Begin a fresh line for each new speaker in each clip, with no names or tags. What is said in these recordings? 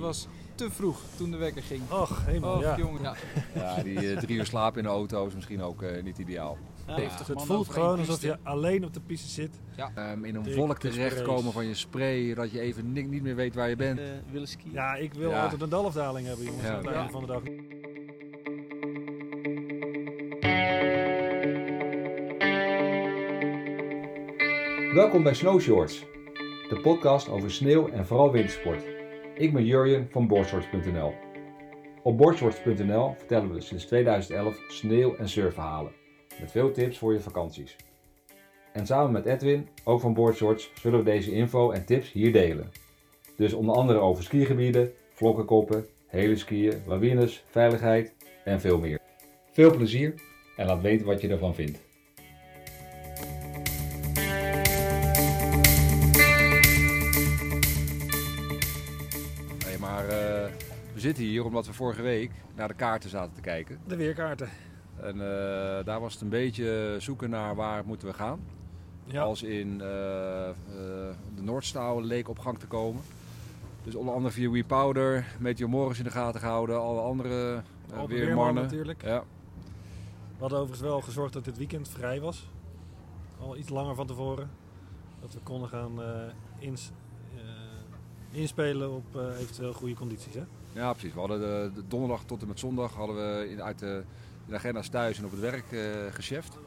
was te vroeg toen de wekker ging.
Och, helemaal.
Och,
ja.
jongen. Ja.
Ja, die eh, drie uur slaap in de auto is misschien ook eh, niet ideaal.
Ja,
70
het
man
voelt
over één
gewoon alsof je
piste.
alleen op de piste zit.
Ehm, in een
Dik,
wolk
dus
terechtkomen
breed.
van je spray, dat je even ni- niet meer weet waar je bent.
eh, willen skiën.
Ja, ik wil
Ja.
altijd een dalafdaling hebben, jongens,
Ja.
aan het einde
Ja.
van de dag.
Welkom bij Snow Shorts, de podcast over sneeuw en vooral wintersport. Ik ben Jurjen van boardshorts.nl. Op boardshorts.nl vertellen we sinds 2011 sneeuw- en surfverhalen, met veel tips voor je vakanties. En samen met Edwin, ook van Boardshorts, zullen we deze info en tips hier delen. Dus onder andere over skigebieden, vlokkenkoppen, hele skiën, lawines, veiligheid en veel meer. Veel plezier en laat weten wat je ervan vindt. Hey, maar eh, we zitten hier omdat we vorige week naar de kaarten zaten te kijken.
De weerkaarten.
En eh, daar was het een beetje zoeken naar waar moeten we gaan.
Ja.
Als in eh, eh, de Noordstouwen leek op gang te komen. Dus onder andere via We Powder, Meteor Morris in de gaten gehouden, alle andere eh,
Alpe Weerman
weermannen.
natuurlijk.
Ja,
We hadden overigens wel gezorgd dat dit weekend vrij was. Al iets langer van tevoren. Dat we konden gaan eh, ins- eh, inspelen op eh, eventueel goede condities. Hè?
ja, precies. We hadden de, de donderdag tot en met zondag hadden we in, uit de, in de agenda's thuis en op het werk eh gecheft.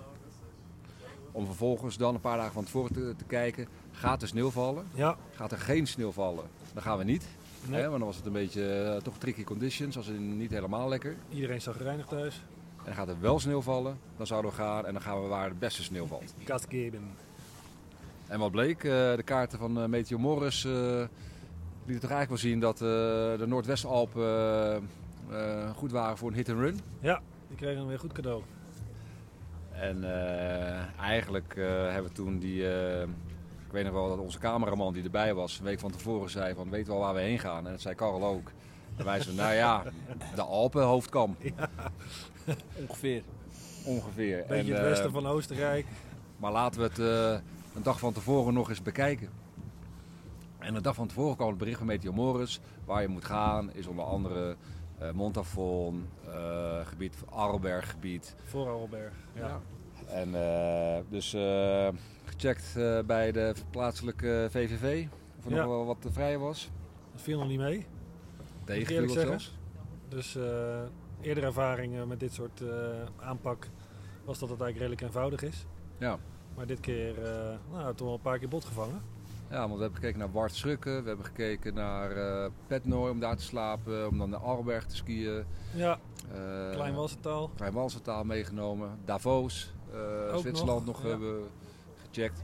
Om vervolgens dan een paar dagen van tevoren te, te kijken, gaat er sneeuw vallen?
Ja,
Gaat er geen sneeuw vallen, dan gaan we niet.
Nee.
Hè, want dan was het een beetje eh, toch tricky conditions, als in niet helemaal lekker.
iedereen zag gereinigd thuis.
En dan gaat er wel sneeuw vallen, dan zouden we gaan en dan gaan we waar de beste sneeuw valt.
Gasgeben.
En wat bleek, eh, de kaarten van eh, Meteor Morris eh, lieten toch eigenlijk wel zien dat eh, de Noordwestalpen eh, eh, goed waren voor een hit-and-run.
Ja, die kregen weer goed cadeau.
En eh, eigenlijk eh, hebben we toen die. eh, ik weet nog wel dat onze cameraman die erbij was, een week van tevoren zei: van weet wel waar we heen gaan. En dat zei Karel ook. En wij zeiden, nou ja, de Alpen hoofdkam
Ongeveer.
ongeveer.
Beetje
En,
het westen
eh,
van Oostenrijk.
Maar laten we het eh, een dag van tevoren nog eens bekijken. En een dag van tevoren kwam het bericht van Meteor Morris. Waar je moet gaan is onder andere eh Montafon, eh, gebied, Arlberg gebied.
Voor Arlberg. Ja.
Ja.
En eh, dus eh, gecheckt eh, bij de plaatselijke VVV. Of er
Ja.
nog wel wat te vrij was.
Dat viel nog niet mee.
Tegen
eerlijk
of
zeggen.
zelfs.
Dus eh eerder ervaringen met dit soort eh, aanpak was dat het eigenlijk redelijk eenvoudig is.
Ja.
Maar dit keer eh nou, toch wel een paar keer bot gevangen.
Ja, want we hebben gekeken naar Bart Schrukken. We hebben gekeken naar eh Petnoy om daar te slapen. Om dan naar Arlberg te skiën.
Ja,
Eh,
klein was het al.
Rijnwaalse taal meegenomen. Davos, eh,
Ook
Zwitserland
nog,
nog,
ja.
hebben gecheckt.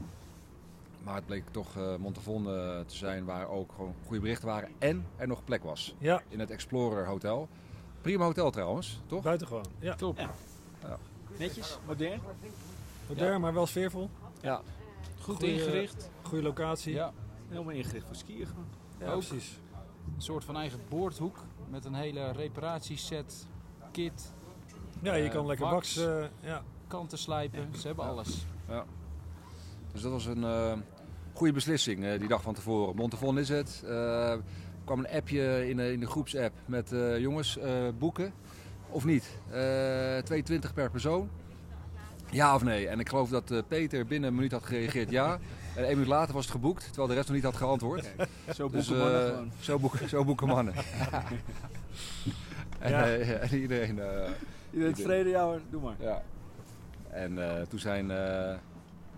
Maar het bleek toch eh Montafon eh, te zijn waar ook gewoon goede berichten waren. En er nog plek was
Ja,
in het Explorer Hotel. Prima hotel trouwens, toch?
buitengewoon. Ja,
Top.
Ja.
Ja.
Netjes, modern.
modern, maar wel sfeervol.
Ja. Goed
Goeie-
ingericht.
Goede locatie.
Ja,
Helemaal ingericht voor skiën gewoon.
Ja,
ook.
precies.
een soort van eigen boordhoek met een hele reparatieset, kit,
Ja, je
Eh,
kan lekker
wax.
wax. eh, ja.
kanten slijpen. Ze hebben alles.
Dus dat was een eh, goede beslissing eh, die dag van tevoren. Montafon is het. Eh, er kwam een appje in, de- in de groepsapp met eh, jongens, eh, boeken of niet? Eh 2,20 per persoon. Ja of nee? En ik geloof dat eh, Peter binnen een minuut had gereageerd ja. En één minuut later was het geboekt, terwijl de rest nog niet had geantwoord.
Zo
Dus,
boeken
eh,
mannen gewoon.
zo, boeken, zo boeken mannen. en,
Ja.
eh, en iedereen... eh,
Iedereen tevreden, ja hoor. Doe maar.
ja. En eh, toen zijn eh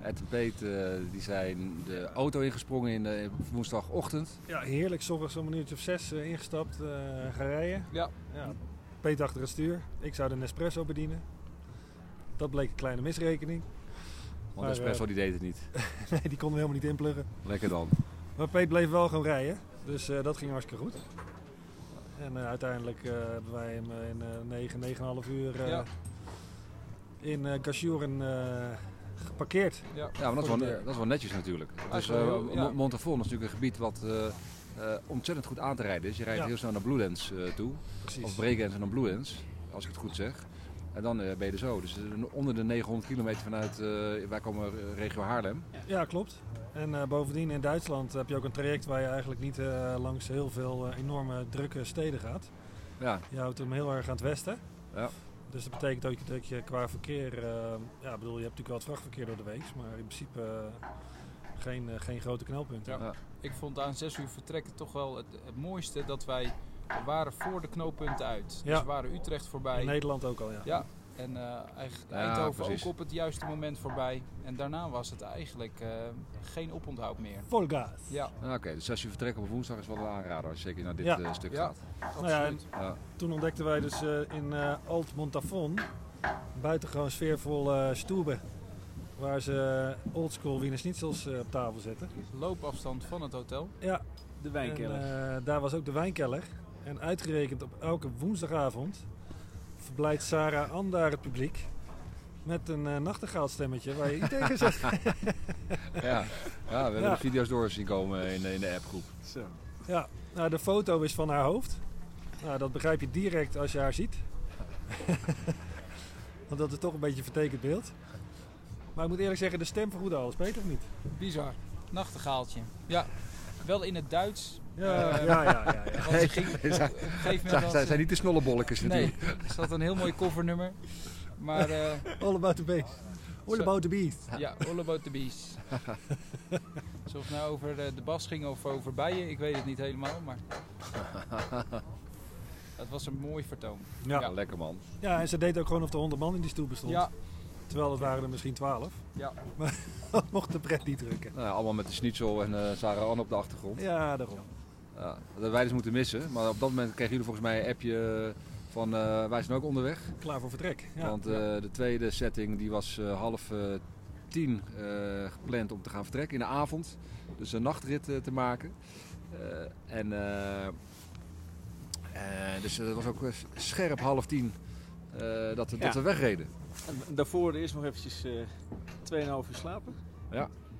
Ed en Peet eh, die zijn de auto ingesprongen in de, woensdagochtend.
ja, heerlijk. Zorgens om een uurtje of zes eh, ingestapt, eh gaan rijden.
Ja.
ja. Peet achter het stuur. Ik zou de Nespresso bedienen. Dat bleek een kleine misrekening. Maar,
Want
eh,
Espresso die deed het niet.
Nee, die konden we helemaal niet inpluggen.
Lekker dan.
Maar Peet bleef wel gaan rijden, dus eh, dat ging hartstikke goed. En eh, uiteindelijk eh, hebben wij hem eh, in eh, 9, 9,5 uur eh,
Ja.
in eh Gashuren eh, geparkeerd.
Ja, maar dat is wel, dat is wel netjes natuurlijk.
Ah,
Dus,
wel heel-
eh,
ja.
Mo- Montafon is natuurlijk een gebied wat eh, eh, ontzettend goed aan te rijden is. Je rijdt
Ja.
heel snel naar Blue Lands eh, toe.
Precies.
Of Bregenz en dan Blue Ends, als ik het goed zeg. En dan eh, ben je er zo. Dus eh, onder de 900 kilometer vanuit, eh, wij komen eh, regio Haarlem.
Ja, klopt. En eh, bovendien in Duitsland heb je ook een traject waar je eigenlijk niet eh, langs heel veel eh, enorme drukke steden gaat.
Ja,
Je houdt hem heel erg aan het westen.
Ja.
Dus dat betekent ook dat je qua verkeer, eh, ja, ik bedoel, je hebt natuurlijk wel het vrachtverkeer door de week, maar in principe eh, geen, eh, geen grote knelpunten.
Ja. Ik vond aan 6 uur vertrekken toch wel het, het mooiste dat wij we waren voor de knooppunten uit. Dus
Ja.
we waren Utrecht
In
voorbij.
Nederland ook al, ja.
Ja, en eh, eigenlijk
Ja,
Eindhoven
precies.
ook op het juiste moment voorbij. En daarna was het eigenlijk eh, geen oponthoud meer.
Volgas.
Ja,
Nou, oké. Dus als je vertrekt op woensdag is wel een aanrader als je zeker naar dit
Ja.
eh, stuk
Ja.
gaat.
Nou ja,
absoluut.
Ja.
Toen ontdekten wij dus eh, in eh Alt Montafon, buitengewoon sfeervol eh stoebe, waar ze oldschool Wiener Schnitzels eh, op tafel zetten.
Loopafstand van het hotel.
Ja,
De wijnkeller.
En, eh, daar was ook de wijnkeller. En uitgerekend op elke woensdagavond verblijdt Sarah Andaar het publiek met een eh nachtegaalstemmetje waar je iets tegen zegt.
Ja. ja, we hebben
Ja.
de video's door zien komen in, de- in de appgroep.
Zo.
Ja, nou, de foto is van haar hoofd. Nou, dat begrijp je direct als je haar ziet. Want dat is toch een beetje een vertekend beeld. Maar ik moet eerlijk zeggen, de stem vergoedde alles, beter of niet?
Bizar. Nachtegaaltje. Ja, wel in het Duits.
Ja,
Eh,
ja, ja, ja, ja.
Want ze ging op,
Zij-
op een gegeven moment...
Zij
had
zij
ze-
zijn niet de snollebolletjes
Nee,
natuurlijk.
ze had een heel mooi covernummer. Maar eh,
All about the beast. All
Zo.
about the beast.
ja, all about the bees. Dus of het nou over eh, de bas ging of over bijen, ik weet het niet helemaal. Maar het was een mooi vertoon.
Ja.
Ja, lekker man.
ja, en ze deed ook gewoon of er 100 man in die stoel bestond.
Ja,
Terwijl het waren er misschien 12.
Ja.
Maar dat mocht de pret niet drukken.
Nou, allemaal met de schnitzel en eh Sarah Ann op de achtergrond.
Ja, daarom.
Ja, dat hebben wij dus moeten missen. Maar op dat moment kregen jullie volgens mij een appje van eh, wij zijn ook onderweg.
Klaar voor vertrek. Ja.
Want eh, de tweede setting die was eh, half eh, tien eh, gepland om te gaan vertrekken in de avond. Dus een nachtrit eh, te maken. Eh, en, eh, eh, dus het was ook eh, scherp half tien eh, dat, we-
Ja.
dat we wegreden.
En daarvoor eerst nog eventjes eh 2,5 uur slapen.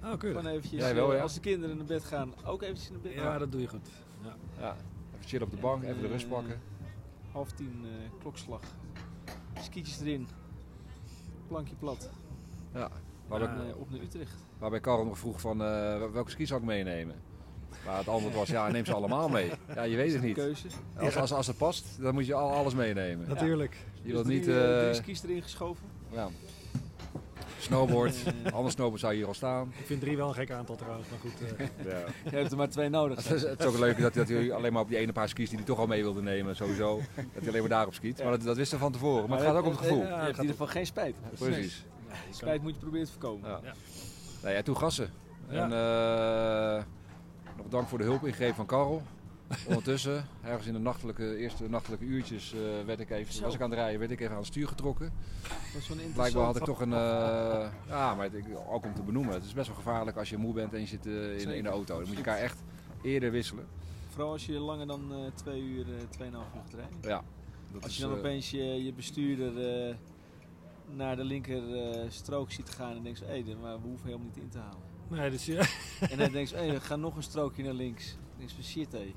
Oh, keurig.
Gewoon eventjes,
Jij wel,
eh,
ja.
als de kinderen naar bed gaan, ook eventjes naar bed.
Ja, dat doe je goed.
Ja. Even chillen op de bank, even de rust pakken.
Half tien eh, klokslag. Skietjes erin. Plankje plat.
Ja. Waarbij,
En, eh, op naar Utrecht.
waarbij Karel nog vroeg van eh, welke ski zou ik meenemen? Maar het antwoord was ja, neem ze allemaal mee. Ja, je weet het niet.
Keuze.
Als, als, als het past, dan moet je al alles meenemen.
Natuurlijk.
Je wilt
Dus
niet...
drie, eh,
eh,
drie skis erin geschoven.
ja. Snowboard. Anders snowboard zou je hier al staan.
Ik vind drie wel een gek aantal trouwens, maar goed. eh,
Je hebt er maar twee nodig.
Het is, het is ook leuk dat, dat hij alleen maar op die ene paar skis die hij toch al mee wilde nemen, sowieso. Dat hij alleen maar daarop skiet. Maar dat, dat wist hij van tevoren. Maar het gaat ook om het gevoel.
Je hebt in ieder geval geen spijt.
Precies.
Spijt moet je proberen te voorkomen.
Ja. Nou ja, toen gassen.
Ja.
En eh, nog dank voor de hulp ingreep van Karel. Ondertussen, ergens in de nachtelijke, eerste nachtelijke uurtjes, eh, werd ik even,
Zo.
was ik aan het rijden, werd ik even aan het stuur getrokken.
Dat is zo'n
Blijkbaar had
interessant.
ik toch een. eh, ja, maar het, ik- ook om te benoemen. Het is best wel gevaarlijk als je moe bent en je zit eh, in, in de auto. Dan moet je elkaar echt eerder wisselen.
Vooral als je langer dan eh, twee uur, eh, 2,5 uur gaat rijden.
Ja, dat
Als
is,
je dan
eh,
opeens je, je bestuurder eh, naar de linker eh, strook ziet gaan en denkt, hé, hey, dit- maar we hoeven helemaal niet in te halen.
nee, dus ja.
en hij denkt, hé, hey, we gaan nog een strookje naar links. Dan denk je van shit, hé.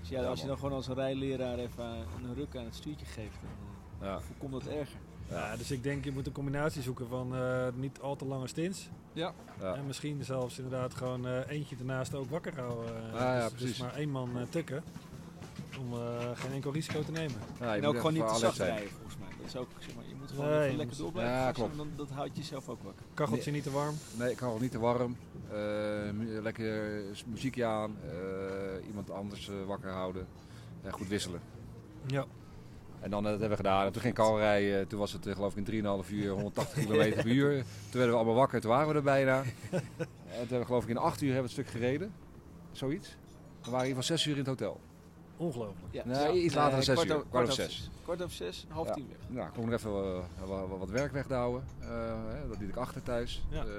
Dus ja,
Ja,
als je
man.
dan gewoon als een rijleraar even aan- een ruk aan het stuurtje geeft, dan eh,
ja.
voorkomt dat erger.
Ja, dus ik denk je moet een combinatie zoeken van eh, niet al te lange stints.
Ja.
Ja.
En misschien zelfs inderdaad gewoon eh, eentje ernaast ook wakker houden. eh,
Ah, ja,
dus- dus,
precies.
maar één man eh, tukken. Om eh, geen enkel risico te nemen.
Ja, je
en
moet
ook
echt
gewoon niet te
alert
zacht
zijn.
rijden, volgens mij. Dat is ook, zeg maar, je moet gewoon
Nee,
even
je
lekker
moet-
door blijven
Ja,
gaan,
klopt.
Dan, dat houdt jezelf ook wakker.
Kacheltje niet te warm.
Nee, Karel niet te warm. Eh, mu- lekker s- muziekje aan. Eh, iemand anders eh, wakker houden. En goed wisselen.
Ja.
En dan, eh, dat hebben we gedaan. En toen ging Karel rijden. Toen was het eh, geloof ik in 3,5 uur 180 km per uur. Toen werden we allemaal wakker. Toen waren we er bijna. En toen hebben we geloof ik in 8 uur hebben we het stuk gereden. Zoiets. We waren hier van 6 uur in het hotel.
Ongelooflijk.
Ja.
Nee, iets later dan
Eh,
zes
kwart
uur.
over-
Kwart
Kwart
over
over
zes.
zes. Kwart over zes, half
Ja.
tien weg.
Nou, ik kon nog even eh, wa- wa- wat werk weg te houden. Eh, hè, dat liet ik achter thuis.
Ja.
Eh,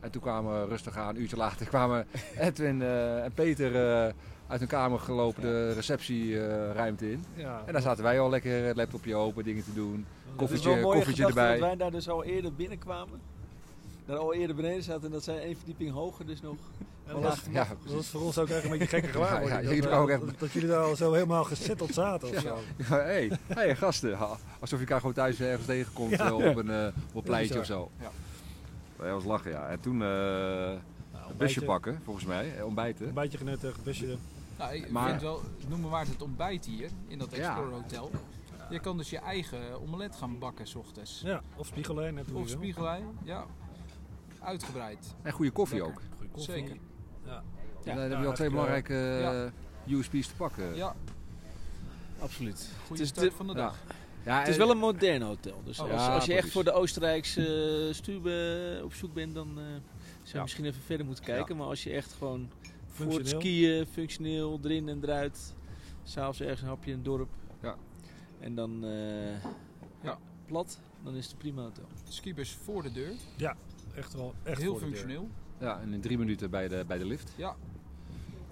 en toen kwamen rustig aan, een uurtje later, kwamen Edwin eh, en Peter eh, uit hun kamer gelopen de receptieruimte in.
Ja.
En daar zaten wij al lekker het laptopje open, dingen te doen.
Dat is
Koffietje,
Het is wel een mooie
koffietje
gedachte
erbij.
dat wij daar dus al eerder binnenkwamen. daar al eerder beneden zaten. En dat zij één verdieping hoger dus nog.
dat, was,
Ja,
dat was voor ons ook echt een beetje gekke gewaar.
Ja, ja,
dat,
jullie
eh,
waren ook echt-
dat, dat jullie daar al zo helemaal gezetteld zaten of zo.
Ja, Nou, hey, hey, gasten. Ha, Alsof je elkaar gewoon thuis ergens tegenkomt
Ja.
eh, op een, eh, op een pleintje
bizar.
of zo. Ja. Dat was lachen, ja. En toen eh
Nou,
een busje pakken, volgens mij. eh, Ontbijten.
Een beetje genuttigd, busje.
Nou, ik
Maar-
vind wel, noem maar waard het ontbijt hier, in dat
Ja.
Explorer Hotel. Je kan dus je eigen omelet gaan bakken s ochtends.
Ja, of spiegelijn. Net hoe
Of
je wil.
spiegelei, ja. Uitgebreid.
En goede koffie
Lekker.
ook.
Goeie koffie.
Zeker.
en, dan
Ja,
heb je al twee
hartstikke
belangrijke
Ja.
eh, USP's te pakken.
Ja,
Absoluut. Het
goede
is,
start
de-
van de
ja.
dag.
Ja, eh,
het is wel een modern hotel. Dus
Oh,
als,
ja,
als je echt
precies.
voor de Oostenrijkse eh, stube op zoek bent, dan eh, zou je
Ja.
misschien even verder moeten kijken. Maar als je echt gewoon voor het
Functioneel.
skiën, functioneel, erin en eruit. S'avonds ergens een hapje in het dorp.
Ja.
En dan eh,
Ja.
plat, dan is het een prima hotel.
Skibus voor de deur.
Echt wel echt
Heel
voor de deur.
functioneel.
Ja, en in drie minuten bij de, bij de lift.
Ja.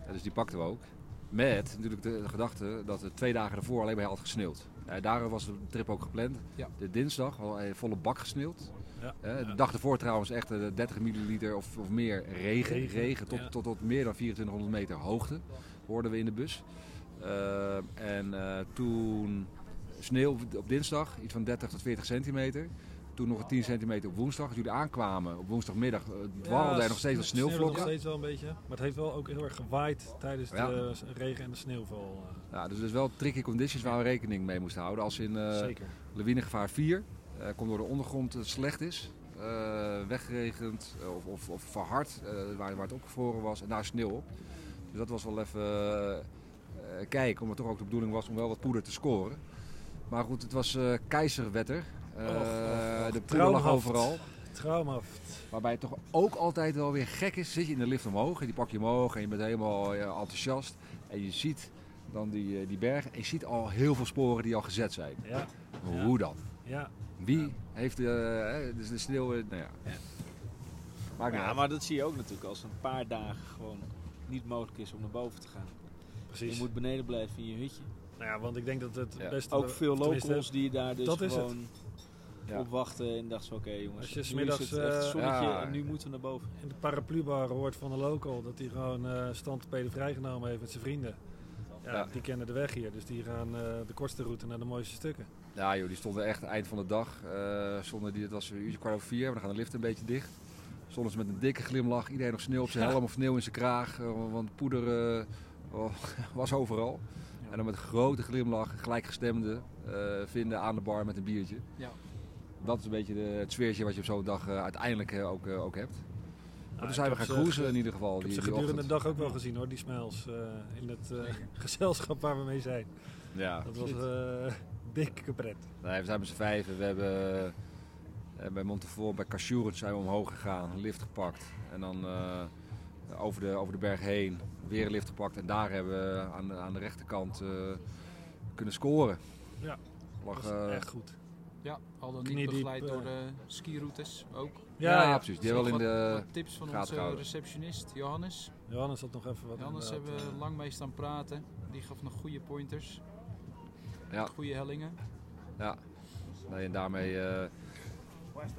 Ja, dus die pakten we ook. Met natuurlijk de gedachte dat het twee dagen ervoor alleen maar had gesneeuwd. Eh, daarom was de trip ook gepland.
Ja.
De dinsdag al eh, volle bak gesneeuwd.
Ja.
Eh, de
Ja.
dag ervoor trouwens echt eh, 30 milliliter of, of meer regen.
Regen,
Regen, tot,
ja.
tot, tot meer dan 2400 meter hoogte hoorden we in de bus. Eh, en eh, toen sneeuw op, op dinsdag, iets van 30 tot 40 centimeter. Toen nog 10 centimeter op woensdag. Als jullie aankwamen op woensdagmiddag, eh, dwarrelde er nog steeds wat
Het sneeuwde
sneeuwvlokken.
nog steeds wel een beetje. Maar het heeft wel ook heel erg gewaaid tijdens
Ja.
de eh, regen en de sneeuwval. eh.
Ja, dus dat is wel tricky conditions waar we rekening mee moesten houden. Als in eh,
Zeker.
lawinegevaar 4 eh, komt door de ondergrond eh, slecht is, eh, weggeregend eh, of, of, of verhard, eh, waar, waar het opgevroren was en daar sneeuw op. Dus dat was wel even eh, eh, kijken, omdat toch ook de bedoeling was om wel wat poeder te scoren. Maar goed, het was eh, keizerwetter. Eh,
Och, och, och.
de poeder lag
Traumhaft.
overal.
Trauma.
Waarbij het toch ook altijd wel weer gek is. Zit je in de lift omhoog en die pak je omhoog en je bent helemaal eh, enthousiast. En je ziet dan die, eh, die bergen en je ziet al heel veel sporen die al gezet zijn.
Ja, Ja.
Hoe dan?
ja.
Wie heeft eh, hè, dus de sneeuw... eh, nou ja. Maakt niet
Ja,
uit.
maar dat zie je ook natuurlijk als een paar dagen gewoon niet mogelijk is om naar boven te gaan.
precies.
Je moet beneden blijven in je hutje.
Nou ja, want ik denk dat het
Ja.
best...
Ook veel
tenminste,
locals die daar dus
dat is het.
gewoon
Ja.
op wachten en dachten van oké jongens,
Als je
nu
smiddags,
is het echt
eh,
zonnetje
Ja.
en nu moeten we naar boven.
In de paraplubar hoort van de local dat hij gewoon eh standpeden vrijgenomen heeft met zijn vrienden. Ja,
Ja.
die kennen de weg hier. Dus die gaan eh, de kortste route naar de mooiste stukken.
Ja joh, die stonden echt eind van de dag. eh zonder die, het was een uurtje kwart over vier, maar dan gaan de lift een beetje dicht. Stonden ze met een dikke glimlach. Iedereen nog sneeuw op zijn helm of sneeuw in zijn kraag. eh, want poeder eh, was overal.
Ja.
En dan met een grote glimlach gelijkgestemden eh, vinden aan de bar met een biertje.
Ja.
Dat is een beetje de, het sfeertje wat je op zo'n dag eh, uiteindelijk eh, ook, eh, ook hebt. Maar
Nou,
toen zijn we
ik heb
gaan
ze-
dus cruisen in ieder geval.
Ik heb
die,
ze
die
gedurende de
ochtend.
dag ook wel gezien hoor, die smiles. eh, in het eh, gezelschap waar we mee zijn.
Ja.
Dat was eh dikke pret.
Nee, we zijn met z'n vijven. We hebben eh, bij Montevoort, bij Cachouren zijn we omhoog gegaan, een lift gepakt. En dan eh, over, de, over de berg heen weer een lift gepakt. En daar hebben we aan de, aan de rechterkant eh, kunnen scoren.
Ja.
Lag,
Dat was
eh,
echt goed.
Ja, al dan niet
Kniediep,
begeleid
eh.
door de skiroutes ook.
ja, ja, precies. Dus Die
Nog
hebben we wel in
wat-
de...
wat tips van
gaten
onze
gehouden.
receptionist, Johannes.
Johannes had nog even wat.
Johannes hebben
inderdaad,
we
eh,
lang mee staan praten. Die gaf nog goede pointers.
Ja.
Goede hellingen.
Ja, nee, en daarmee eh,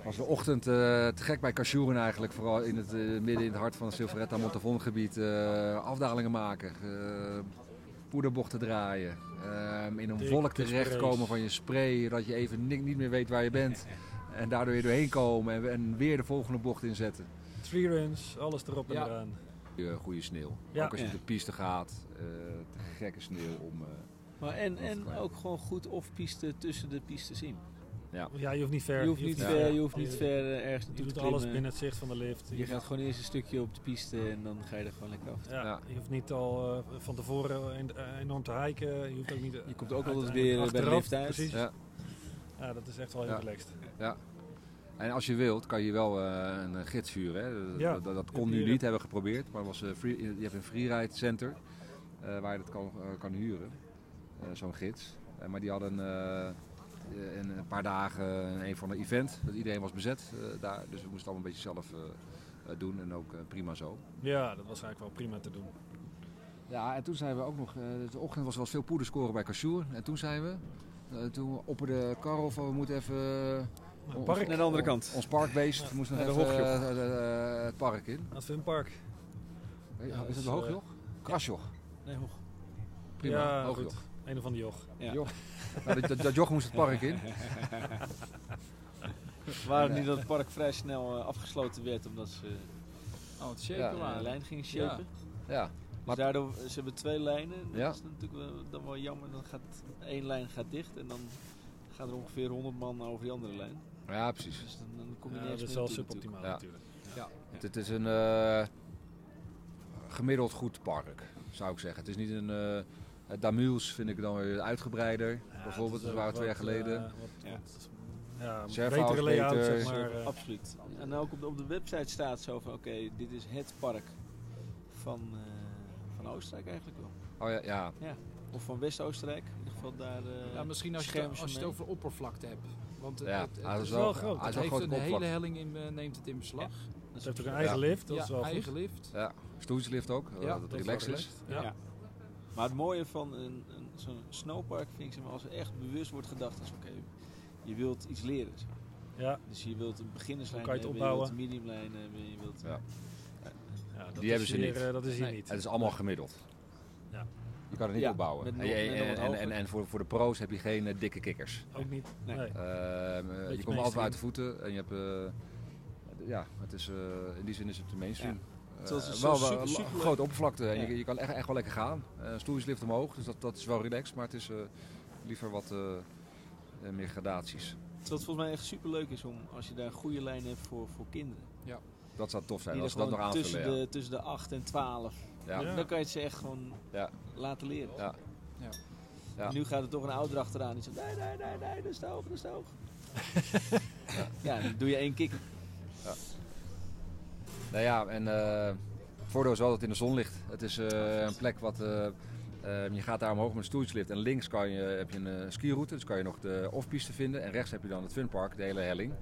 was de ochtend eh, te gek bij Cachouren eigenlijk. Vooral in het, eh, midden in het hart van het Silveretta Montafon gebied. eh, afdalingen maken, eh, poederbochten draaien. eh, in een
Dikke
wolk
sprays.
terechtkomen van je spray, dat je even ni- niet meer weet waar je bent. En daardoor weer doorheen komen en, en weer de volgende bocht inzetten.
Three runs, alles erop en
Ja.
eraan.
Eh, Goede sneeuw.
Ja.
Ook als je
Ja.
op de piste gaat. eh, te gekke sneeuw om. eh,
Maar en,
Dat is
en
waar.
ook gewoon goed off-piste tussen de pistes in.
Ja, je hoeft niet ver.
Je hoeft niet ver, je hoeft niet
Je-
ver eh, ergens
Je
naartoe te
doet
klimmen.
alles binnen het zicht van de lift.
Je gaat gewoon eerst een stukje op de piste en dan ga je er gewoon lekker af.
Ja,
Ja.
Je hoeft niet al eh, van tevoren een- eh, enorm te hiken. Je hoeft ook niet. eh,
Je komt ook altijd
uiteindelijk
weer eh, bij de
achteraf,
lift uit.
Precies.
Ja.
Ja. dat is echt wel heel
Ja.
relaxed.
En als je wilt, kan je wel eh, een eh, gids huren. Hè? Dat,
Ja,
dat, dat
heb
kon nu
je-
niet, hebben we geprobeerd. Maar was, eh, free- je hebt een freeride center eh, waar je dat kan, eh, kan huren. Eh, Zo'n gids. Eh, maar die hadden eh, eh, in een paar dagen een van de event. Dat iedereen was bezet eh, daar. Dus we moesten allemaal een beetje zelf eh, eh, doen. En ook eh, prima zo.
Ja, dat was eigenlijk wel prima te doen.
Ja, en toen zijn we ook nog... eh, de ochtend was wel veel poederscoren bij Cachur. En toen zijn we... eh, toen opperde Karel van we moeten even...
Een park.
Naar de andere kant.
Ons parkbeest
Ja,
moest nog
naar de
even
hoogjoch.
eh, eh, eh, het park in.
Dat is een park.
Weet-
Ja,
is
dus,
het een hoogjoch? Krasjoch.
Nee, hoog.
Prima,
ja,
hoogjoch.
goed. Een of andere joch.
Ja.
Joch. Nou, dat, dat, dat joch moest het park in.
Waar het niet dat het park vrij snel eh, afgesloten werd omdat ze
Oh, het
Ja.
shaken
eh, een lijn gingen shapen.
Ja. Maar-
Maar Dus daardoor, ze hebben twee lijnen. Dat
Ja.
is natuurlijk wel, dan wel jammer. Dan gaat één lijn gaat dicht en dan gaat er ongeveer 100 man over die andere lijn.
ja, precies.
Dus dan, dan kom je
Ja,
nergens
dat is
meer
wel
naartoe
suboptimaal
Ja.
natuurlijk.
Het, het is een eh, gemiddeld goed park, zou ik zeggen. Het is niet een... eh het Damuels vind ik dan weer uitgebreider.
Ja,
Bijvoorbeeld,
is
dat waren
ook
twee jaar
wat, eh,
geleden.
wat-
Ja.
wat, ja, een
Servo
betere
is
layout,
beter.
zeg maar.
natuurlijk.
eh.
Dus Absoluut. En ook op de, op de website staat zo van oké, dit is het park van, eh, van Oostenrijk eigenlijk wel.
Oh ja, ja.
Of van West-Oostenrijk. In ieder geval daar. eh,
Ja, misschien als je,
schermen
het-
ze
als je het
mee.
over oppervlakte hebt. Want het,
ja.
het, het-
hij
is
is
het
wel
wel
groot.
groot. Hij is wel
heeft
groot
een hele
oppervlak.
helling in, eh, neemt het in beslag.
Het heeft ook een eigen lift, dat
ja,
is wel
eigen
goed.
lift.
Ja. Stoeltjeslift ook, eh,
Ja,
dat
Dat
het
wel
relaxed is.
relaxed. Ja.
Ja. Maar het mooie van een, een, zo'n snowpark vind ik, zeg maar, als er echt bewust wordt gedacht als oké, je wilt iets leren. zeg maar.
Ja.
Dus je wilt een beginnerslijn
Hoe kan je
hebben,
het opbouwen?
je wilt een mediumlijn hebben, je wilt...
Ja.
Ja, dat
Die
is
hebben ze
hier,
niet.
eh, Dat is hier
Nee.
niet.
Het is allemaal gemiddeld.
Ja.
Je kan het niet
Ja,
opbouwen.
met
En,
nog- met nog
en,
wat
en, en,
hoger.
en voor, voor de pro's heb je geen eh, dikke kikkers.
Ook niet.
Nee.
Nee.
Ehm, eh, je komt altijd
mainstream.
uit de voeten en je hebt... eh, ja, het is, eh, in die zin is het de mainstream. Eh,
Zoals het
wel
zo
wel
super, super leuk.
grote oppervlakte en
Ja.
je, je kan echt, echt wel lekker gaan. Eh stoeltjeslift omhoog, dus dat, dat is wel relaxed, maar het is eh, liever wat eh, eh, meer gradaties.
Wat volgens mij echt super leuk is om, als je daar een goede lijn hebt voor, voor kinderen.
Dat zou tof zijn,
die
als we
er
dat nog
gewoon tussen,
aanvullen. Ja.
de, tussen de 8 en 12.
Ja.
Ja.
Dan kan je het ze echt gewoon
Ja.
laten leren.
Ja.
Ja.
Ja.
En Nu gaat er toch een ouder achteraan die zegt, nee, nee, nee, nee, dat is te hoog, dat is te hoog. ja, dan doe je één kick.
Nou ja, en eh het voordeel is wel dat het in de zon ligt. Het is eh, een plek wat... eh, eh, je gaat daar omhoog met een stoeltjeslift en links kan je, heb je een eh, skiroute. Dus kan je nog de off-piste vinden. En rechts heb je dan het funpark, de hele helling.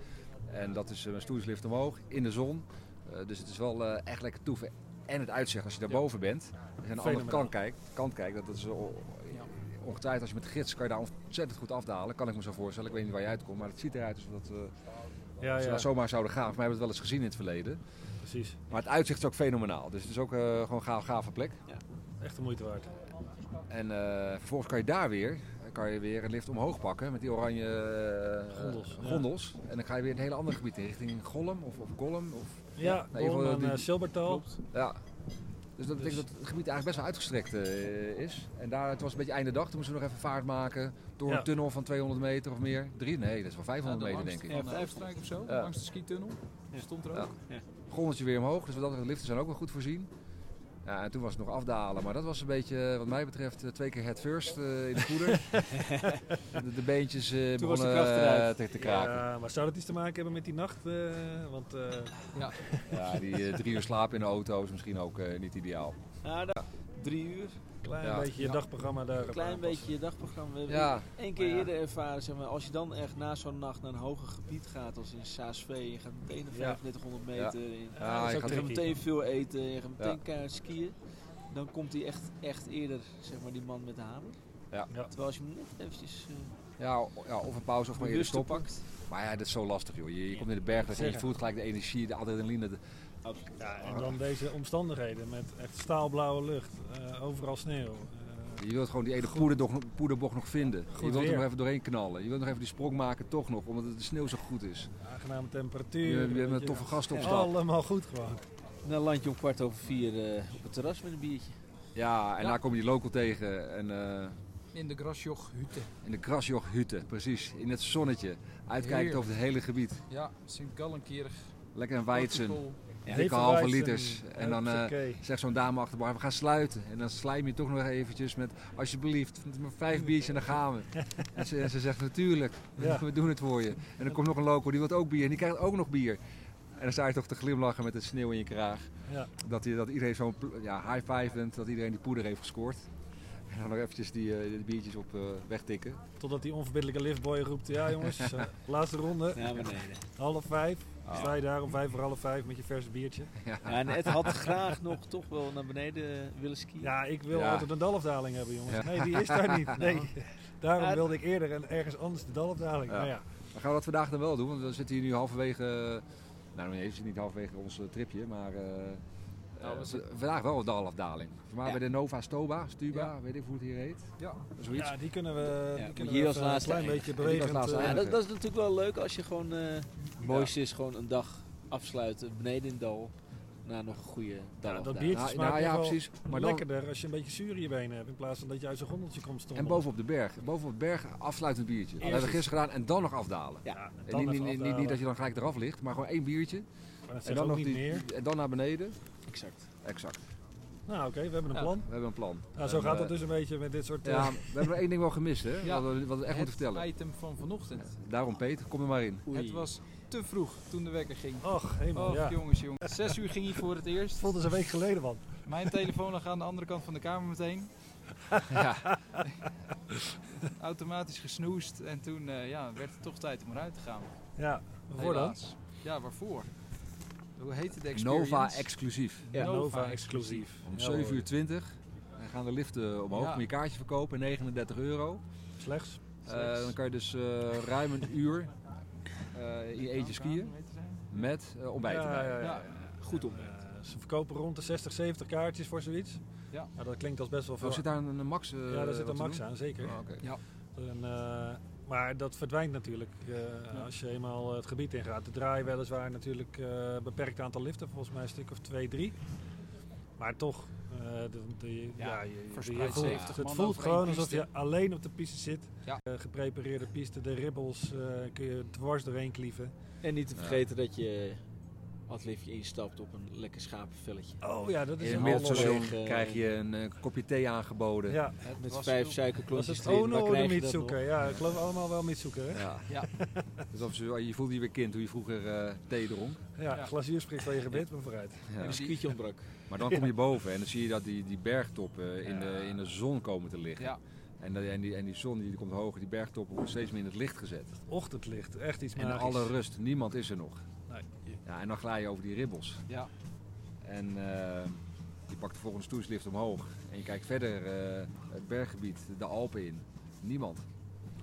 En dat is eh, een stoeltjeslift omhoog, in de zon. Eh, dus het is wel eh, echt lekker toeven. En het uitzicht als je daarboven bent. Als je aan de andere
Fenomenaal.
kant kijkt, kant kijkt dat, dat is eh, o-
Ja.
ongetwijfeld als je met de gids kan je daar ontzettend goed afdalen. Kan ik me zo voorstellen. Ik weet niet waar je uitkomt, maar het ziet eruit alsof dat, eh,
Ja,
als we
ja,
dat zomaar zouden gaan. Voor mij hebben we het wel eens gezien in het verleden.
precies.
Maar het uitzicht is ook fenomenaal. Dus het is ook eh, gewoon een gaaf, gave plek.
Echt de moeite waard.
En eh, vervolgens kan je daar weer, kan je weer een lift omhoog pakken met die oranje eh,
Gondels, ja.
gondels. En dan ga je weer een heel ander gebied in, richting Gollum of, of Gollum. Of,
Ja,
in ieder geval,
Born en
die-
eh, Silbertal.
ja. Dus dat betekent
Dus-
dat het gebied eigenlijk best wel uitgestrekt eh, is. En daar, het was een beetje einde dag, toen moesten we nog even vaart maken door
Ja.
een tunnel van 200 meter of meer. Drie, nee, dat is wel
Ja,
500
de
meter
langste
denk ik.
van,
Ja,
eh, Oostenrijk of zo,
Ja.
langs de skitunnel.
Ja.
Stond er ook.
Ja. gondeltje weer omhoog. Dus wat dat betreft, de liften zijn ook wel goed voorzien. Ja, en toen was het nog afdalen, maar dat was een beetje, eh, wat mij betreft, eh, twee keer head first eh, in de voeder. de, de beentjes eh,
Toen was de
begonnen
kracht eruit.
eh, te, te kraken.
Ja, maar zou dat iets te maken hebben met die nacht? eh, want eh,
Ja, die eh, drie uur slaap in de auto is misschien ook eh, niet ideaal.
Ja, daar- Nou, drie uur.
klein
Ja.
beetje je
Ja.
dagprogramma daar.
Een klein beetje je dagprogramma. We hebben
Ja,
één keer
Maar ja.
eerder ervaren, zeg maar, als je dan echt na zo'n nacht naar een hoger gebied gaat, als in Saasvee, je gaat meteen naar
Ja.
3500 meter, in.
Ja,
dat is
je
ook
gaat-
je gaat
tricky.
meteen veel eten, je gaat meteen
Ja.
keihard skiën, dan komt hij echt, echt eerder, zeg maar, die man met de hamer.
Ja.
Ja.
Terwijl als je hem net eventjes eh
ja, o- ja, of een pauze of maar eerder
bewust
stoppen.
pakt.
Maar ja, dat is zo lastig joh. Je, je komt in de berg en je
Zeggen.
voelt gelijk de energie, de adrenaline. de-
Ja, en dan deze omstandigheden met echt staalblauwe lucht, eh, overal sneeuw. eh,
Je wilt gewoon die ene poederbocht, poederbocht nog vinden. je wilt er
weer.
nog even doorheen knallen. Je wilt nog even die sprong maken toch nog, omdat het de sneeuw zo goed is.
aangename
Je,
temperatuur.
je hebt
weet
een toffe gast op stap.
Allemaal goed gewoon.
Dan land je om kwart over vier eh, op het terras met een biertje.
Ja, en
Ja.
daar kom je die local tegen. En, eh,
In de Grasjoch Hutte.
in de Krasjoch-hutte, precies. In het zonnetje. Uitkijkend
Heerlijk.
over het hele gebied.
Ja, Sint Gallenkirch.
Lekker een weidsen.
Artikel.
Dikke
Even
halve
wijzen.
liters. En dan eh,
Hupsakee.
zegt zo'n dame achter de bar, we gaan sluiten. En dan slijm je toch nog eventjes met, alsjeblieft, maar vijf biertjes en dan gaan we. En ze, en ze zegt, natuurlijk,
Ja.
we doen het voor je. En dan komt nog een loco, die wil ook bier. En die krijgt ook nog bier. En dan sta je toch te glimlachen met de sneeuw in je kraag.
Ja.
Dat, je, dat iedereen zo'n pl- ja, high five bent, dat iedereen die poeder heeft gescoord. En dan nog eventjes die, eh, die biertjes op eh, wegtikken.
Totdat die onverbiddelijke liftboy roept, ja jongens, eh, laatste ronde,
Ja, maar nee. nee.
half vijf.
Ah.
Sta je daar om vijf voor half vijf met je verse biertje.
Ja, en Ed had graag nog toch wel naar beneden willen skiën.
Ja, ik wil
Ja.
altijd een dalafdaling hebben jongens.
Ja.
Nee, die is daar niet. Nee. Daarom
Ja.
wilde ik eerder en ergens anders de dalafdaling.
Ja.
Maar ja,
Maar gaan we dat vandaag dan wel doen? Want we zitten hier nu halverwege. eh, Nou, nee, we zitten niet halverwege ons eh, tripje, maar. eh,
Nou,
eh,
we zitten-
v- vandaag wel een dalafdaling. Voor mij
Ja.
bij de Nova Stuba, Stuba,
Ja.
weet ik hoe het hier heet.
Ja.
Zoiets.
Ja, die kunnen we, die
Ja,
kunnen
hier
we
als
even een
laatste
klein
eindigen.
beetje
Ja, die
bewegend...
als laatste
eh,
Ja,
eindigen.
dat, dat is natuurlijk wel leuk als je gewoon... eh, het mooiste is gewoon een dag afsluiten beneden in het dal. Na nog een goede dag.
dat biertje
Nou,
smaakt
nou
nog
ja,
wel
precies. Maar dan,
lekkerder als je een beetje zuur in je benen hebt in plaats van dat je uit zo'n gondeltje komt stonden.
en bovenop de berg. Bovenop de berg afsluitend biertje. Dat
Eerst
hebben we
iets.
gisteren gedaan en dan nog afdalen.
Ja,
En niet, niet, niet, niet dat je dan gelijk eraf ligt, maar gewoon één biertje.
dat
En
zegt
dan,
ook
nog
niet
die,
meer.
en dan naar beneden.
Exact.
Exact.
Nou oké, we hebben een
Ja.
plan.
We hebben een plan.
Nou, zo
En,
gaat
eh,
het dus een beetje met dit soort... eh,
Ja, we hebben er één ding wel gemist, hè?
Ja.
Wat, we, wat we echt
het
moeten vertellen.
item van vanochtend.
Daarom, Peter, kom er maar in.
Oei.
Het was te vroeg toen de wekker ging.
Och, helemaal,
Och,
Oh, ja.
jongens, jongens. Zes uur ging hij voor het eerst.
Vond eens een week geleden, man.
Mijn telefoon lag aan de andere kant van de kamer meteen.
Ja.
Automatisch gesnoest. En toen eh, ja, werd het toch tijd om eruit te gaan.
Ja, waarvoor dan?
Helaas. Ja, waarvoor? Hoe heette de experience?
Nova exclusief.
Ja,
Nova exclusief.
Om
Ja,
7
hoor.
uur 20 en gaan de liften omhoog.
Ja.
Moet je kaartje verkopen, 39 euro.
Slechts.
Eh, dan kan je dus eh, ruim een uur eh, in je eentje skiën met eh, ontbijt
Ja,
erbij.
ja, ja, ja.
Goed om.
Eh, ze verkopen rond de 60, 70 kaartjes voor zoiets.
Ja.
Nou, dat klinkt als best wel veel.
Oh, zit daar een, een max? eh,
ja, daar zit een
wat te
max
doen?
aan, zeker.
Oh, oké.
En, eh, maar dat verdwijnt natuurlijk eh, als je eenmaal het gebied ingaat. Er draaien weliswaar natuurlijk eh, een beperkt aantal liften, volgens mij een stuk of twee, drie. Maar toch, eh, de, de-
Ja,
ja, je- je,
verspreid
je voelt,
70
het
man
voelt
over
gewoon
één
alsof je
piste.
alleen op de piste zit.
Ja.
Eh, geprepareerde piste, de ribbels eh, kun je dwars doorheen klieven.
En niet te
Ja.
vergeten dat je als het liftje instapt op een lekker schapenvelletje.
Oh ja, dat is
In het
een
middelstation
halve weg, eh,
krijg je een eh, kopje thee aangeboden.
Ja,
Met
was
vijf
heel-
was
suikerklontjes
het
erin,
Ono
waar
de
krijg je dat nog?
Mitsuker? Ja, ik geloof allemaal wel Mitsuker, hè?
Ja. Dus
Ja.
Alsof je, je voelde je weer kind hoe je vroeger eh, thee dronk.
Ja,
Ja.
glazuur springt van je gebit, maar vooruit.
Ja.
Een schietje ontbrak.
Maar dan kom je boven en dan zie je dat die, die bergtoppen eh, in, de, in de zon komen te liggen.
Ja.
En, de- en, die, en die zon die komt hoger, die bergtoppen worden steeds meer in het licht gezet.
Ochtendlicht, echt iets
En
magisch.
alle rust, niemand is er nog.
Nee.
Ja, en dan glij je over die ribbels.
Ja.
En eh, je pakt de volgende stoeslift omhoog. En je kijkt verder eh, het berggebied, de Alpen in. Niemand.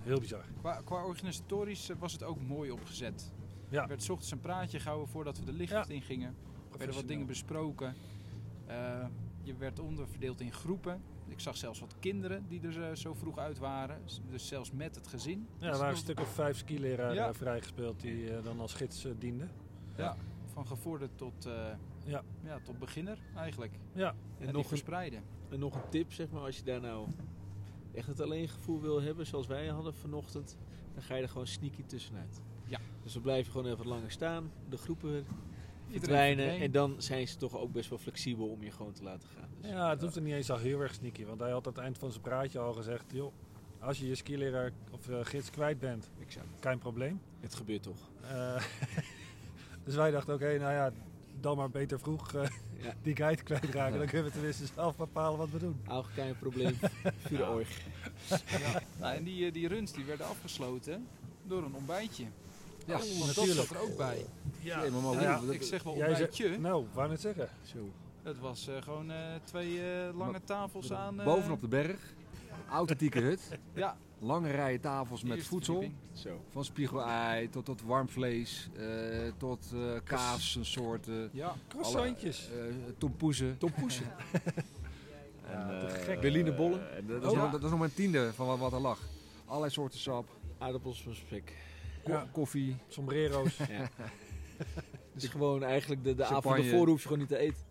Heel bizar.
Qua, qua organisatorisch eh, was het ook mooi opgezet.
Ja.
Er werd 's ochtends een praatje gehouden voordat we de lichtlift ingingen. Er werden wat dingen besproken. Eh, je werd onderverdeeld in groepen. Ik zag zelfs wat kinderen die er eh, zo vroeg uit waren. S- Dus zelfs met het gezin.
Ja,
Dus
er waren een
dat-
stuk of vijf skileraren
Ja.
eh, vrijgespeeld die eh, dan als gids eh, dienden.
Van gevorderd tot, eh,
Ja.
ja. tot beginner eigenlijk.
Ja,
En,
die
nog
vind-
verspreiden.
En nog een tip, zeg maar, als je daar nou echt het alleen gevoel wil hebben, zoals wij hadden vanochtend, dan ga je er gewoon sneaky tussenuit.
Ja.
Dus dan blijf je gewoon even langer staan, de groepen verdwijnen
verdween.
en dan zijn ze toch ook best wel flexibel om je gewoon te laten gaan. Dus
ja het hoeft er niet eens al heel erg sneaky, want hij had aan het eind van zijn praatje al gezegd, joh, als je je skileraar of eh, gids kwijt bent,
exact.
geen probleem.
Het gebeurt toch.
Eh, dus wij dachten, oké, nou ja, dan maar beter vroeg eh,
Ja.
die guide kwijtraken. Dan kunnen we tenminste zelf bepalen wat we doen.
Ook geen probleem voor de oorg.
Ja. Nou, en die, eh, die runs die werden afgesloten door een ontbijtje.
Ja,
Want dat
natuurlijk.
zat er ook bij.
Nee, maar, maar
En
hoe-
Ja.
dat-
ik zeg wel
Jij zei-
ontbijtje.
Nou, wou net zeggen.
Zo.
Het was eh, gewoon eh, twee eh, lange tafels aan. eh,
Bovenop de berg, authentieke hut.
Ja.
Lange rijen tafels met
eh, eerste
voedsel.
verdieping.
Zo.
Van spiegelei tot, tot warm vlees, eh, tot eh, kaas, een soort... eh,
Ja.
Croissantjes.
Alle, eh, tompoezen. Tompoezen.
Ja, te
eh,
gek.
Berlinerbollen.
en dat, is
Oh,
nog,
ja.
dat is nog maar een tiende van wat, wat er lag. Allerlei soorten sap,
Aardappels van spek.
ko-
eh, Ja.
koffie.
Sombrero's.
Dus gewoon eigenlijk de, de avond
Champagne.
ervoor hoef je gewoon niet te eten.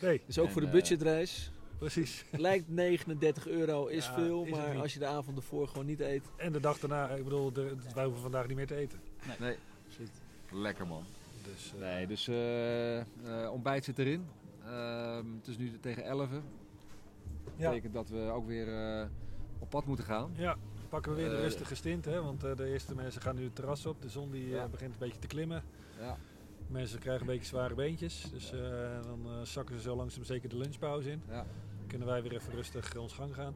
Nee,
Dus ook
En,
voor de
eh,
budgetreis.
precies.
Lijkt 39 euro is
Ja,
veel,
is het
maar
niet.
als je de avond ervoor gewoon niet eet.
En de dag daarna, ik bedoel, de, wij hoeven vandaag niet meer te eten.
Nee,
Shit.
lekker man.
Dus, eh,
Nee, dus eh, eh, ontbijt zit erin. Ehm, het is nu tegen 11. Dat
ja,
betekent dat we ook weer eh, op pad moeten gaan.
eh, ja, pakken we weer de
Eh,
rustige stint, hè? want eh, de eerste mensen gaan nu het terras op. De zon die, eh,
Ja.
begint een beetje te klimmen.
Ja.
Mensen krijgen een beetje zware beentjes, dus eh, dan eh, zakken ze zo langzaam zeker de lunchpauze in.
Ja.
Kunnen wij weer even rustig ons gang gaan.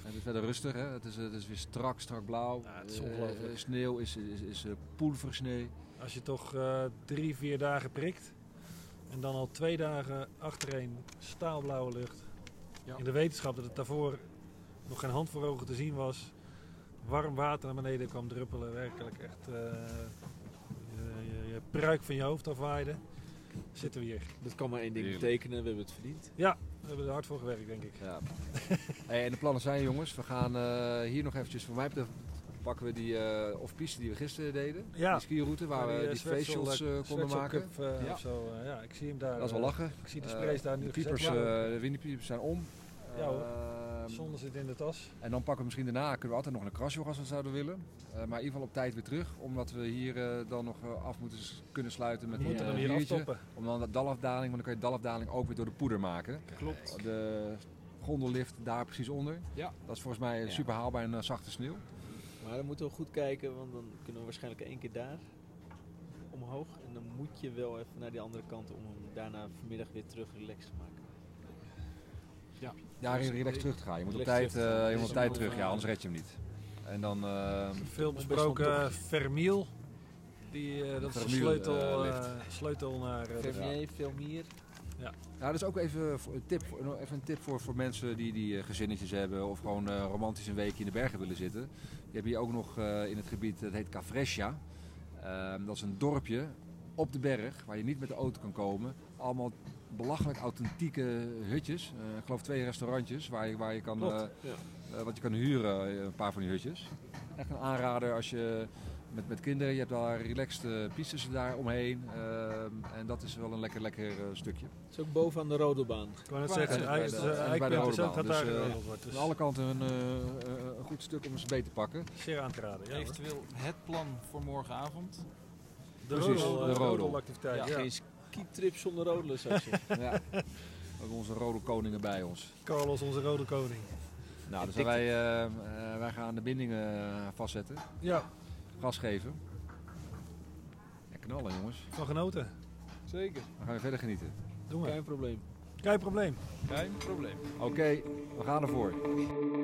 En het is verder rustig, hè? Het, is, eh, het is weer strak, strak blauw.
Ja, het is
Eh,
ongelooflijk.
eh, sneeuw is, is, is eh, poelversnee.
Als je toch eh, drie, vier dagen prikt en dan al twee dagen achtereen staalblauwe lucht.
Ja.
In de wetenschap dat het daarvoor nog geen hand voor ogen te zien was. warm water naar beneden kwam druppelen. Werkelijk echt eh, je, je- je pruik van je hoofd afwaaide. Zitten we hier.
Dat kan maar één ding
Heerlijk.
betekenen, we hebben het verdiend.
We hebben er hard voor gewerkt, denk ik.
Ja. Hey, en de plannen zijn, jongens, we gaan eh, hier nog eventjes, voor mij betreft, pakken we die eh off-piste die we gisteren deden.
Ja.
Die skiroute waar
Maar
we
eh,
die face
Zwetsel,
shots
eh,
eh, konden
Zwetsel
maken.
Cup, eh,
Ja.
of zo, eh, ja, ik zie hem daar.
Dat is wel
eh,
lachen.
Ik zie de sprays daar
Eh,
nu
de
gezet
keepers,
worden.
eh, de windpiepers zijn om.
Ja, hoor.
Ehm,
Zonde zit in de tas.
en dan pakken we misschien daarna, kunnen we altijd nog een crashjog als we het zouden willen. Eh, maar in ieder geval op tijd weer terug, omdat we hier eh, dan nog eh, af moeten s- kunnen sluiten met
We moeten
een
hem
eh,
hier
biertje.
aftoppen.
Om dan de dalafdaling, want dan kan je de dalafdaling ook weer door de poeder maken.
Klopt.
De gondellift daar precies onder.
Ja.
Dat is volgens mij
Ja.
super haalbaar in eh, zachte sneeuw.
Maar dan moeten we goed kijken, want dan kunnen we waarschijnlijk één keer daar omhoog. En dan moet je wel even naar die andere kant om hem daarna vanmiddag weer terug relaxed te maken.
Ja,
Dus
re- relax
ik-
terug te gaan. Je moet op
relax
tijd,
terug te
eh,
gaan.
je
Dit
moet
is
op
een
tijd
mooi
terug, ja,
verhaal.
anders red je hem niet. En dan eh,
Veel
best
besproken
wel
eh, Vermeil. Die, eh, dat is de
Vermeil,
sleutel,
eh,
eh, sleutel naar... eh, de-
Vermeer, veel meer.
Nou, dat is ook even voor- een tip, voor- nog even een tip voor, voor mensen die, die eh, gezinnetjes hebben of gewoon eh, romantisch een weekje in de bergen willen zitten. Je hebt hier ook nog eh, in het gebied, dat heet Cafrescia. Ehm, dat is een dorpje op de berg waar je niet met de auto kan komen. Allemaal belachelijk authentieke hutjes. Eh, ik geloof twee restaurantjes waar je, waar je kan,
Klopt,
eh, eh, wat je kan huren, eh, een paar van die hutjes. Echt een aanrader als je met, met kinderen, je hebt daar relaxed eh, pistes daar omheen. Ehm, en dat is wel een lekker, lekker eh, stukje.
Het is ook boven aan de rode baan.
Ik wou net
Ja,
zeggen,
ja,
het
ja,
ei-
ja,
het,
ja,
eh,
ja,
ja, bij de
eikenperk
Rode
zelf
Baan.
gaat
Dus,
daar
eh,
geregeld worden.
Aan
Dus
alle kanten een, eh, eh, een goed stuk om eens mee te pakken.
zeer aan te raden. Ja, hoor.
Eventueel het plan voor morgenavond.
de
Precies,
rodel,
de
de
rodel.
rodelactiviteit. Ja,
Geen ski-trip zonder rodelen, zou ik zeggen.
Ja. We hebben onze rode koningen bij ons.
Carlos, onze rode koning.
Nou, dus wij, eh, eh, wij gaan de bindingen eh, vastzetten.
Ja,
Gas geven. En knallen jongens.
van genoten.
Zeker.
Dan gaan we verder genieten.
Doen we.
Geen probleem.
Geen probleem.
Geen probleem.
Oké, we gaan ervoor.